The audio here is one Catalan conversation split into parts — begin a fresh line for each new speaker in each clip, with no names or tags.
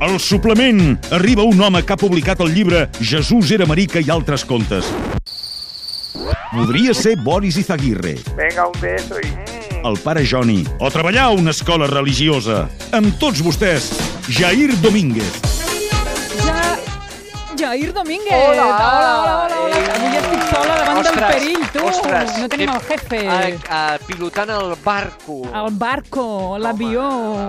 El suplement. Arriba un home que ha publicat el llibre Jesús era marica i altres contes. Podria ser Boris Izaguirre,
Venga, un beso y... mm.
el pare Joni, o treballar a una escola religiosa. Amb tots vostès, Jair Domínguez.
Ja... Jair Domínguez.
Hola.
Eh, hola, hola, hola. hola.
Ei.
Avui estic sola davant del
Eh, Ostres,
perill, tu.
ostres.
No tenim
Ep.
el jefe.
a, a, pilotant el barco.
El barco, l'avió,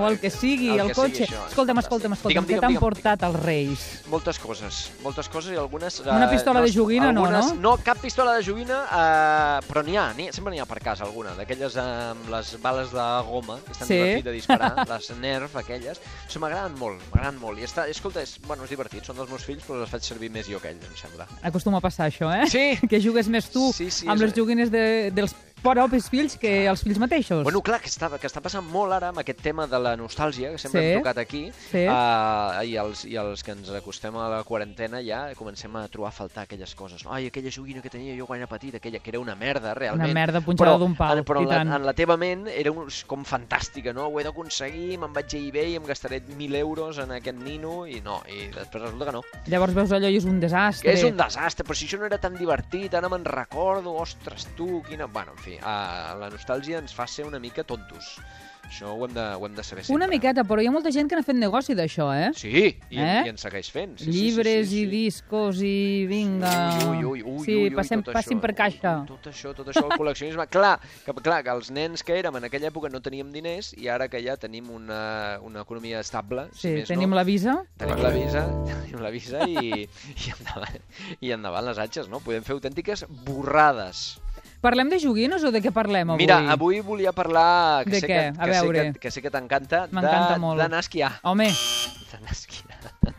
el que sigui, el,
el que sigui,
cotxe.
això.
escolta'm, escolta'm, escolta'm,
Digue'm,
què
digue'm,
t'han
digue'm.
portat els Reis?
Moltes coses, moltes coses i algunes... eh,
Una pistola
no
de
es-
joguina no,
algunes,
no?
No, cap pistola de joguina, eh, però n'hi ha, n'hi- sempre n'hi ha per casa alguna, d'aquelles amb les bales de goma, que estan
Sí.
sí. divertit de disparar, les Nerf aquelles, això m'agraden molt, m'agraden molt. I està, escolta, és, bueno, és divertit, són dels meus fills, però les faig servir més jo que ells, em sembla.
Acostuma a passar això, eh?
Sí.
Que jugues més tu
Sí, sí,
amb
és-
les joguines de, dels propis fills que els fills mateixos.
Bueno, clar, que està, que està passant molt ara amb aquest tema de la nostàlgia, que sempre
Sí.
hem tocat aquí,
Sí.
eh, i, els, i els que ens acostem a la quarantena ja comencem a trobar a faltar aquelles coses. no? Ai, aquella joguina que tenia jo quan era petit, aquella que era una merda, realment.
merda punxada
Però
d'un pal,
en- Però
i
en la,
tant.
en la teva ment era un, com fantàstica, no? Ho he d'aconseguir, me'n vaig a eBay, em gastaré 1.000 euros en aquest nino, i no, i després resulta que no.
Llavors veus allò i és un desastre.
Que és un desastre, però si això no era tan divertit, ara me'n recordo, ostres, tu, quina... Bueno, en fi, uh, la nostàlgia ens fa ser una mica tontos. Això ho hem de, ho hem de saber sempre.
Una miqueta, però hi ha molta gent que n'ha fet negoci d'això, eh?
Sí, i, eh?
Eh?
i ens segueix fent. Sí,
Llibres
sí, sí, sí,
i discos i vinga.
Ui, ui, ui, ui,
sí,
ui, ui,
passem,
tot
passin
això,
per caixa.
Ui, tot això, tot això, el col·leccionisme. clar, que, clar, que els nens que érem en aquella època no teníem diners i ara que ja tenim una, una economia estable,
Sí,
si més
tenim
no,
la visa.
Tenim la visa, tenim la visa i, i, endavant, i endavant les atxes, no? Podem fer autèntiques borrades.
Parlem de joguines o de què parlem avui?
Mira, avui volia parlar... Que
De
sé
què?
Que,
A
que sé
veure.
Que, que sé que t'encanta. de-
M'encanta molt.
D'anar a esquiar.
Home,
D'anar a esquiar.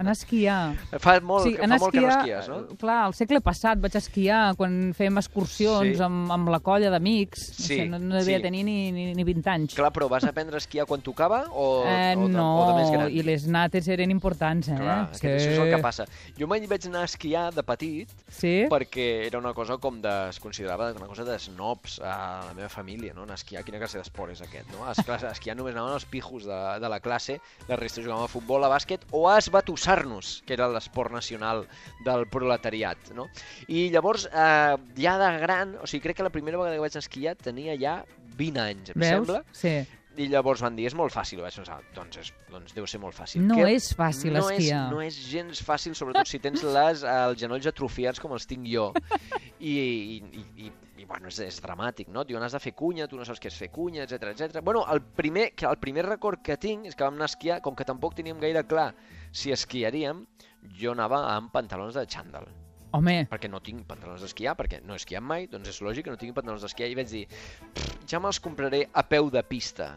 anar a esquiar.
Fa molt, sí, fa molt que no esquies, no?
Clar, al segle passat vaig esquiar quan fèiem excursions
Sí.
amb, amb la colla d'amics.
Sí,
No, sé, no, no devia
sí.
tenir ni, ni, ni 20 anys.
Clar, però vas aprendre a esquiar quan tocava o,
eh,
o, de,
no,
o de més gran?
i les nates eren importants, eh?
Clar, aquest, això és el que passa. Jo mai vaig anar a esquiar de petit
Sí?
perquè era una cosa com de... es considerava una cosa de snobs a la meva família, no? Anar a esquiar, quina classe d'esport és aquest, no? A es- classe- a esquiar només anaven els pijos de, de la classe, la resta jugàvem a futbol, a bàsquet, o a esbatussar-nos, que era l'esport nacional del proletariat, no? I llavors, eh, ja de gran, o sigui, crec que la primera vegada que vaig esquiar tenia ja 20 anys, em
Veus?
sembla.
Sí.
I llavors van dir, és molt fàcil. I vaig pensar, doncs, és, doncs deu ser molt fàcil.
No és fàcil
no
esquiar.
És, no és gens fàcil, sobretot si tens les, els genolls atrofiats com els tinc jo. I, i, i, i, i bueno, és, és dramàtic, no? Et Diuen, has de fer cunya, tu no saps què és fer cunya, etc etc. Bueno, el primer, que el primer record que tinc és que vam anar a esquiar, com que tampoc teníem gaire clar si esquiaríem, jo anava amb pantalons de xandall
Home,
perquè no tinc pantalons d'esquiar, perquè no he esquiat mai, doncs és lògic que no tingui pantalons d'esquiar, i vaig dir, "Pff, ja me'ls compraré a peu de pista.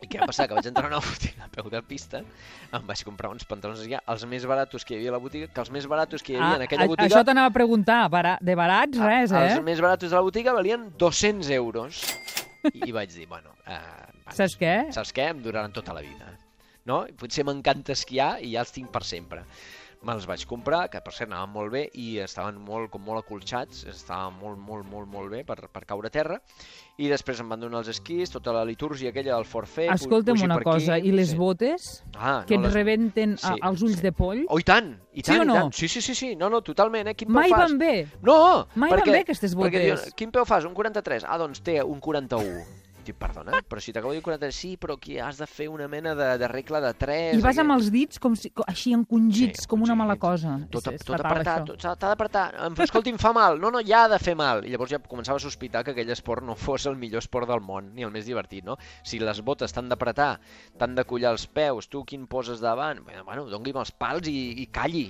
I què va passar? Que vaig entrar a una botiga a peu de pista, em vaig comprar uns pantalons d'esquiar, els més baratos que hi havia a la botiga, que els més baratos que hi havia en aquella
Ah, a-
botiga...
Això t'anava a preguntar, bara- de barats,
Ah,
res, eh?
Els més baratos de la botiga valien 200 euros. I, i vaig dir, bueno... Eh, bueno,
Saps què?
Saps què? Em duraran tota la vida. No? I Potser m'encanta esquiar i ja els tinc per sempre. Me'ls vaig comprar, que per cert anaven molt bé i estaven molt, com molt acolxats, estaven molt, molt, molt, molt bé per, per caure a terra. I després em van donar els esquís, tota la litúrgia aquella del forfait... pu-
Escolta'm
pugir
una
per aquí,
cosa, i les
sí.
botes?
Ah,
que et
no, les-
rebenten a-
sí,
als ulls
sí.
de poll?
Oh, i tant! I
Sí
tant,
o no?
i tant. Sí, sí, sí, sí, no, no, totalment, eh? Quin peu
Mai
fas?
van bé.
No!
Mai van bé aquestes
Perquè
botes.
diuen, quin peu fas? Un 43? Ah, doncs té un 41. Dic, perdona, però si t'acabo de dir 43, sí, però aquí has de fer una mena de, de regla de 3.
I vas amb els dits com si, co- així encongits, com una mala cosa.
Tot,
És- és
tot
fatal,
apretat,
això.
tot- s'ha t'ha d'apretar. Em fa, Escolti, em fa mal. No, no, ja ha de fer mal. I llavors ja començava a sospitar que aquell esport no fos el millor esport del món, ni el més divertit, no? Si les botes t'han d'apretar, t'han de collar els peus, tu quin poses davant? Bé, Bueno, doni'm els pals i, i calli.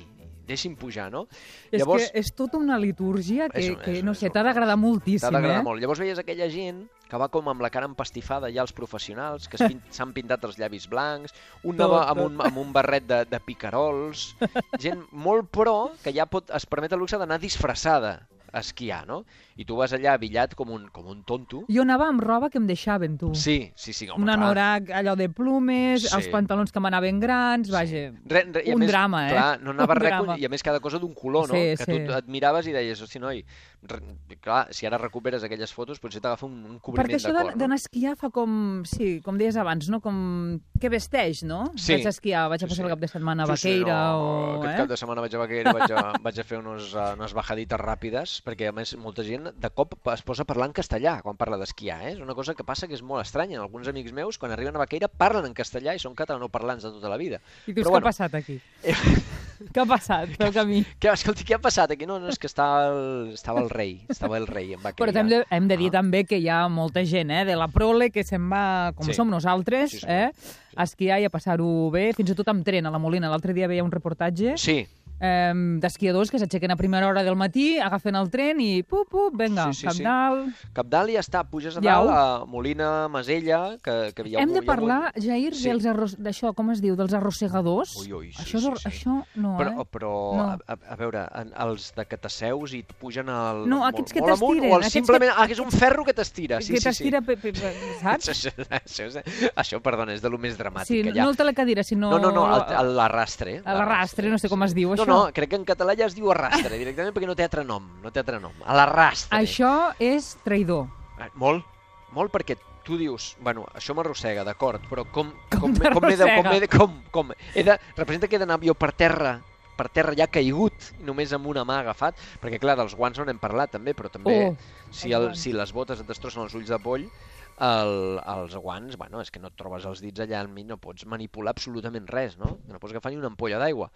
Deixi'm pujar, no?
És que és tota una litúrgia que,
És un-
que
és
no
un-
sé,
és
t'ha
un-
d'agradar moltíssim,
T'ha d'agradar
eh?
molt. Llavors veies aquella gent que va com amb la cara empastifada, ja els professionals, que es pin- s'han pintat els llavis blancs, un
Tot,
anava amb un, amb un barret de, de picarols, gent molt pro que ja pot, es permet el luxe d'anar disfressada a esquiar, no? I tu vas allà abillat com un, com un tonto.
Jo anava amb roba que em deixaven, tu.
Sí, sí, sí,
un
home, clar.
anorac allò de plumes,
Sí.
els pantalons que m'anaven grans, vaja...
Re, re, i a
Un
més,
drama, eh?
Clar, no anava
Un
res,
drama.
i a més cada cosa d'un color, no?
Sí,
que
sí.
tu et miraves i deies, hosti, noi, re, clar, si ara recuperes aquelles fotos potser t'agafa un, un cobriment
Perquè
de
això de-
cor,
d'anar
no?
a esquiar fa com, sí, com deies abans, no? Com que vesteix, no?
Sí.
Vaig a esquiar, vaig a
Sí,
passar
sí.
el cap de setmana a
Sí, sí,
Vaqueira
no,
o...
Aquest
Eh?
cap de setmana vaig a Vaqueira i vaig a, vaig a fer unes, eh, unes bajadites ràpides, perquè a més molta gent de cop es posa a parlar en castellà quan parla d'esquiar, eh? És una cosa que passa que és molt estranya. Alguns amics meus, quan arriben a Vaqueira, parlen en castellà i són catalanoparlants de tota la vida.
I dius,
Però
què
bueno.
ha passat aquí? Què ha passat pel camí?
Què, escolti, què ha passat aquí? No, no, és que estava el, estava el rei, estava el rei en Vaqueira.
Però hem de, hem de dir
Ah.
també que hi ha molta gent eh, de la prole que se'n va, com
Sí.
sí. som nosaltres,
Sí,
sí,
sí.
sí. Eh, a esquiar i a passar-ho bé, fins i tot amb tren a la Molina. L'altre dia veia un reportatge
Sí,
eh, d'esquiadors que s'aixequen a primera hora del matí, agafen el tren i pup, pup, vinga, sí,
Sí, sí,
sí, cap
sí.
dalt...
Capdalt ja està, puges a
Iau.
dalt, a Molina, Masella, que, que hi ha
Hem
un-
de
hi ha un-
parlar, Jair,
Sí.
sí. arros... d'això, com es diu, dels arrossegadors?
Ui, ui, sí,
això, és
sí,
ar-
sí.
això no,
Però,
eh?
però
No.
a, a, a veure, en, els de que t'asseus i et pugen al,
No,
molt-
aquests que
molt amunt,
t'estiren,
o el
aquests
simplement...
que-
Ah, que és un ferro que t'estira. Sí,
que
sí,
t'estira, pe- pe- pe-
Sí.
saps?
Això, això, és, això, perdona, és de lo més dramàtic
Sí,
que
no,
hi ha.
no el telecadira, sinó...
No, no, no, el- el- l'arrastre. eh?
A l'arrastre, no sé com es diu
no,
això.
No, no, crec que en català ja es diu arrastre, directament, perquè no té altre nom, no té altre nom. A l'arrastre.
Això és traïdor.
Eh, Molt, molt perquè tu dius, bueno, això m'arrossega, d'acord, però com,
Com
com, com, he de, com,
t'arrossega?
he de, com, com, he de, representa que he d'anar jo per terra, per terra ja caigut, només amb una mà agafat, perquè clar, dels guants no n'hem parlat també, però també
Oh,
si,
els
el,
guants.
si les botes et destrossen els ulls de poll, el, els guants, bueno, és que no et trobes els dits allà enmig, no pots manipular absolutament res, no? No pots agafar ni una ampolla d'aigua.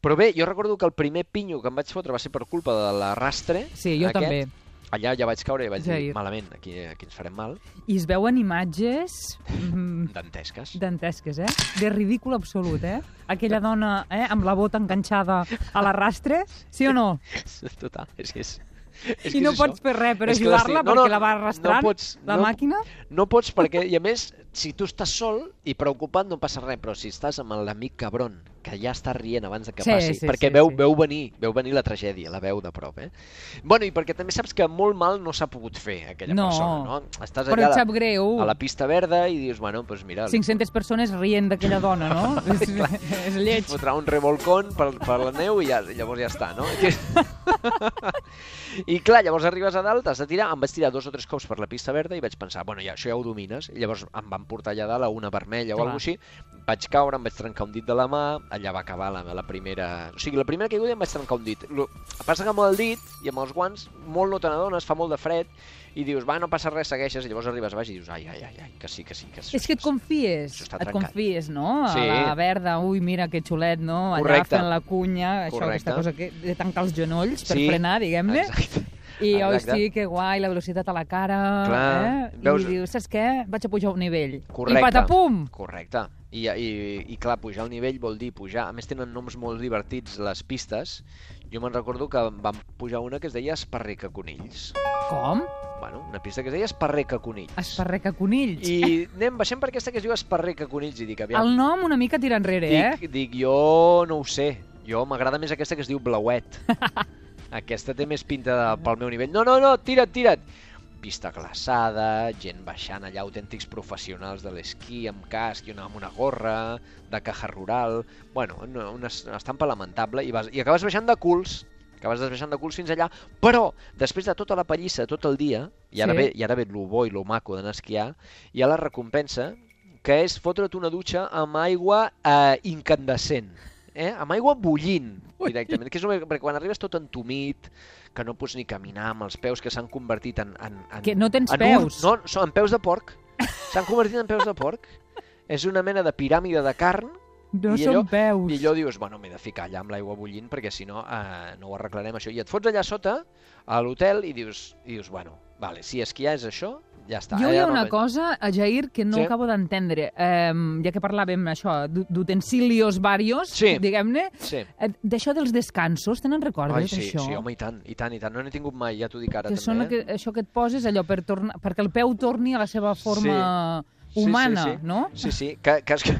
Però bé, jo recordo que el primer pinyo que em vaig fotre va ser per culpa de l'arrastre.
Sí, jo
aquest,
també.
Allà ja vaig caure i vaig dir,
Jair.
malament, aquí, aquí ens farem mal,
I es veuen imatges mm,
dantesques.
dantesques, eh? De ridícul absolut, eh? Aquella dona eh, amb la bota enganxada a l'arrastre, sí o no?
Total, és que és... és
I
que
no
és
pots
això.
fer res per
És que les-
ajudar-la
no, no,
perquè la va arrastrant,
no pots-
la
no-
màquina.
No pots perquè, i a més, si tu estàs sol i preocupat no passa res, però si estàs amb l'amic cabron, que ja està rient abans de que
Sí,
passi,
sí,
perquè
sí,
veu,
sí.
veu venir, veu venir la tragèdia, la veu de prop, eh? Bueno, i perquè també saps que molt mal no s'ha pogut fer aquella
No.
persona, no? Estàs
Però
allà
et
a
sap
la,
greu.
a la pista verda i dius, bueno, doncs mira... li
500 persones rient d'aquella dona, no? és, és lleig.
fotrà un revolcón per, per la neu i ja, llavors ja està, no? I clar, llavors arribes a dalt, has de tirar, em vaig tirar dos o tres cops per la pista verda i vaig pensar, bueno, ja, això ja ho domines. I llavors em van portar allà dalt a una vermella o
Clar.
alguna així, vaig caure, em vaig trencar un dit de la mà, allà va acabar la, la primera... O sigui, la primera caiguda em vaig trencar un dit. Lo... Passa que amb el dit i amb els guants molt no te n'adones, fa molt de fred, i dius, va, no passa res, segueixes, i llavors arribes a baix i dius, ai, ai, ai, ai que sí, que sí, que sí.
És que et confies,
Això està
et
trencat.
confies, no?
Sí.
A la verda, ui, mira que xulet, no? Allà
Correcte.
fent la cunya, això,
Correcte.
aquesta cosa que, de tancar els genolls per
Sí.
frenar, diguem-ne.
Exacte.
I,
Exacte.
hosti, que guai, la velocitat a la cara,
Clar,
eh?
veus-
I dius, saps què? Vaig a pujar un nivell.
Correcte.
I patapum!
Correcte. I, i, I clar, pujar el nivell vol dir pujar... A més, tenen noms molt divertits les pistes. Jo me'n recordo que vam pujar una que es deia Esparreca Conills.
Com?
Bueno, una pista que es deia Esparreca Conills.
Esparreca conills.
I anem baixant per aquesta que es diu Esparreca Conills i dic, aviam,
El nom una mica tira enrere, eh?
dic, dic jo no ho sé. Jo m'agrada més aquesta que es diu Blauet. aquesta té més pinta de, pel meu nivell. No, no, no, tira't, tira't! pista glaçada, gent baixant allà, autèntics professionals de l'esquí amb casc i una, amb una gorra, de caja rural... Bueno, una, una es- una estampa lamentable i, vas, i acabes baixant de culs, acabes desbaixant de culs fins allà, però després de tota la pallissa, tot el dia, i ara
Sí.
ve, i ara ve lo bo i lo maco d'anar a esquiar, hi ha la recompensa, que és fotre't una dutxa amb aigua eh, incandescent, eh? amb aigua bullint directament, que és una... perquè quan arribes tot entumit, que no pots ni caminar amb els peus que s'han convertit en, en, en...
Que no tens
en
peus.
Ur... No, són en peus de porc. S'han convertit en peus de porc. És una mena de piràmide de carn
No
I
són
allò-
peus.
i allò dius, bueno, m'he de ficar allà amb l'aigua bullint perquè si no, eh, no ho arreglarem això. I et fots allà sota, a l'hotel, i dius, i dius, bueno, vale, si esquiar és això, ja està.
Jo
eh,
hi ha
no
una
ve-
cosa, a Jair, que no
Sí.
sí. acabo d'entendre. Um, ja que parlàvem això, d'u- d'utensilios varios,
Sí.
diguem-ne,
Sí.
eh, d'això dels descansos, tenen recordes,
Ai, sí,
això?
sí, home, i tant, i tant, i tant. No n'he tingut mai, ja t'ho dic ara,
que
també.
són
eh?
que, això que et poses allò per tornar, perquè el peu torni a la seva forma
Sí,
humana,
sí, sí.
no?
Sí, sí, que, que, es-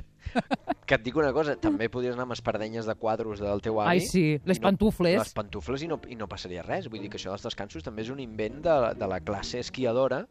Que et dic una cosa, també podries anar amb espardenyes de quadros del teu
Ai,
avi.
sí, les
i
pantufles.
Les pantufles i no, i no passaria res. Vull dir que això dels descansos també és un invent de, de la classe esquiadora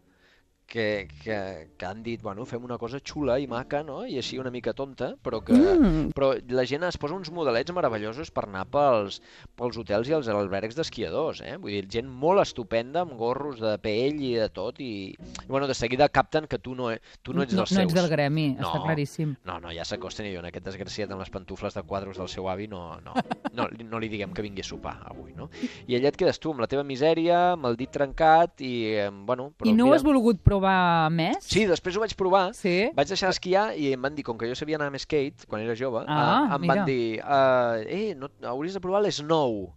que, que, que han dit, bueno, fem una cosa xula i maca, no? I així una mica tonta, però que...
Mm.
Però la gent es posa uns modelets meravellosos per anar pels, pels hotels i els albergs d'esquiadors, eh? Vull dir, gent molt estupenda, amb gorros de pell i de tot, i, i bueno, de seguida capten que tu no, e- tu no ets
no,
dels seus.
ets del gremi,
No.
està claríssim.
No, no, ja s'acosten i jo en aquest desgraciat amb les pantufles de quadros del seu avi no, no, no, li- no li diguem que vingui a sopar avui, no? I allà et quedes tu amb la teva misèria, amb el dit trencat i, eh, bueno... Però
I no ho
mira...
has volgut provar més?
Sí, després ho vaig provar,
Sí?
vaig deixar d'esquiar i em van dir, com que jo sabia anar amb skate quan era jove,
Ah,
eh, em
mira.
van dir, eh, eh no, hauries de provar l'esnou.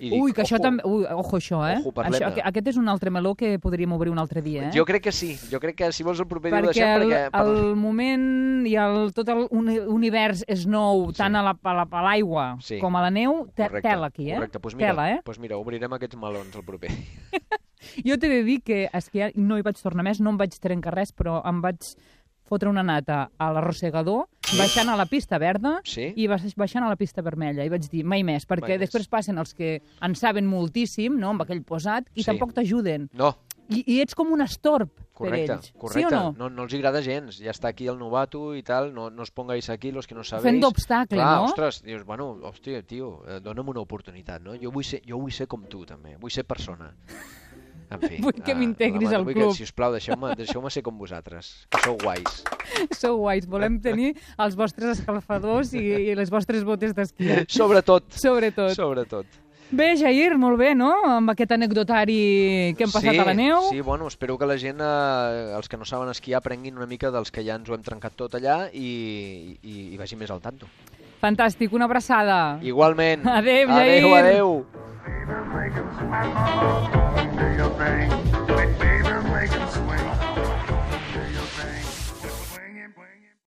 I
Ui, que això
"Ojo".
també... Ui, ojo, això, eh?
Ojo, parlem-ne.
això, aqu- aquest és un altre meló que podríem obrir un altre dia, eh?
Jo crec que sí, jo crec que si vols el proper dia ho
perquè
deixem,
el,
perquè...
el moment i el, tot el uni- univers és nou, tant a la- a la- a l'aigua la,
Sí.
com a la neu, te, tela aquí, eh?
Correcte, pues mira,
tela, eh?
pues mira, obrirem aquests melons el proper.
Jo t'he de dir que a esquiar no hi vaig tornar més, no em vaig trencar res, però em vaig fotre una nata a l'arrossegador, baixant a la pista verda
Sí?
i baix- baixant a la pista vermella. I vaig dir, mai més, perquè
Mai més.
després passen els que en saben moltíssim, no?, amb aquell posat, i
Sí.
tampoc t'ajuden.
No,
I, I ets com un estorb per
Correcte,
ells.
correcte.
Sí o no?
no? No els agrada gens. Ja està aquí el novato i tal, no, no os pongáis aquí los que no sabéis.
Fent d'obstacle,
Clar,
no?
ostres, dius, bueno, hòstia, tio, eh, dona'm una oportunitat, no? Jo vull ser, jo vull ser com tu, també. Vull ser persona. En fi.
Vull que
ah,
m'integris
Laura,
al
vull
club.
Que, sisplau, deixeu-me deixeu ser com vosaltres, que sou guais.
Sou guais, volem tenir els vostres escalfadors i, i les vostres botes d'esquí, eh?
Sobretot.
sobretot.
Sobretot.
Bé, Jair, molt bé, no?, amb aquest anecdotari que hem passat
sí,
a la neu.
Sí, bueno, espero que la gent, eh, els que no saben esquiar, aprenguin una mica dels que ja ens ho hem trencat tot allà i, i, i vagin més al tanto.
Fantàstic, una abraçada.
Igualment.
Ah. Adéu,
Adéu,
Jair.
adéu.
Baby, make 'em smile. Do your thing. Baby,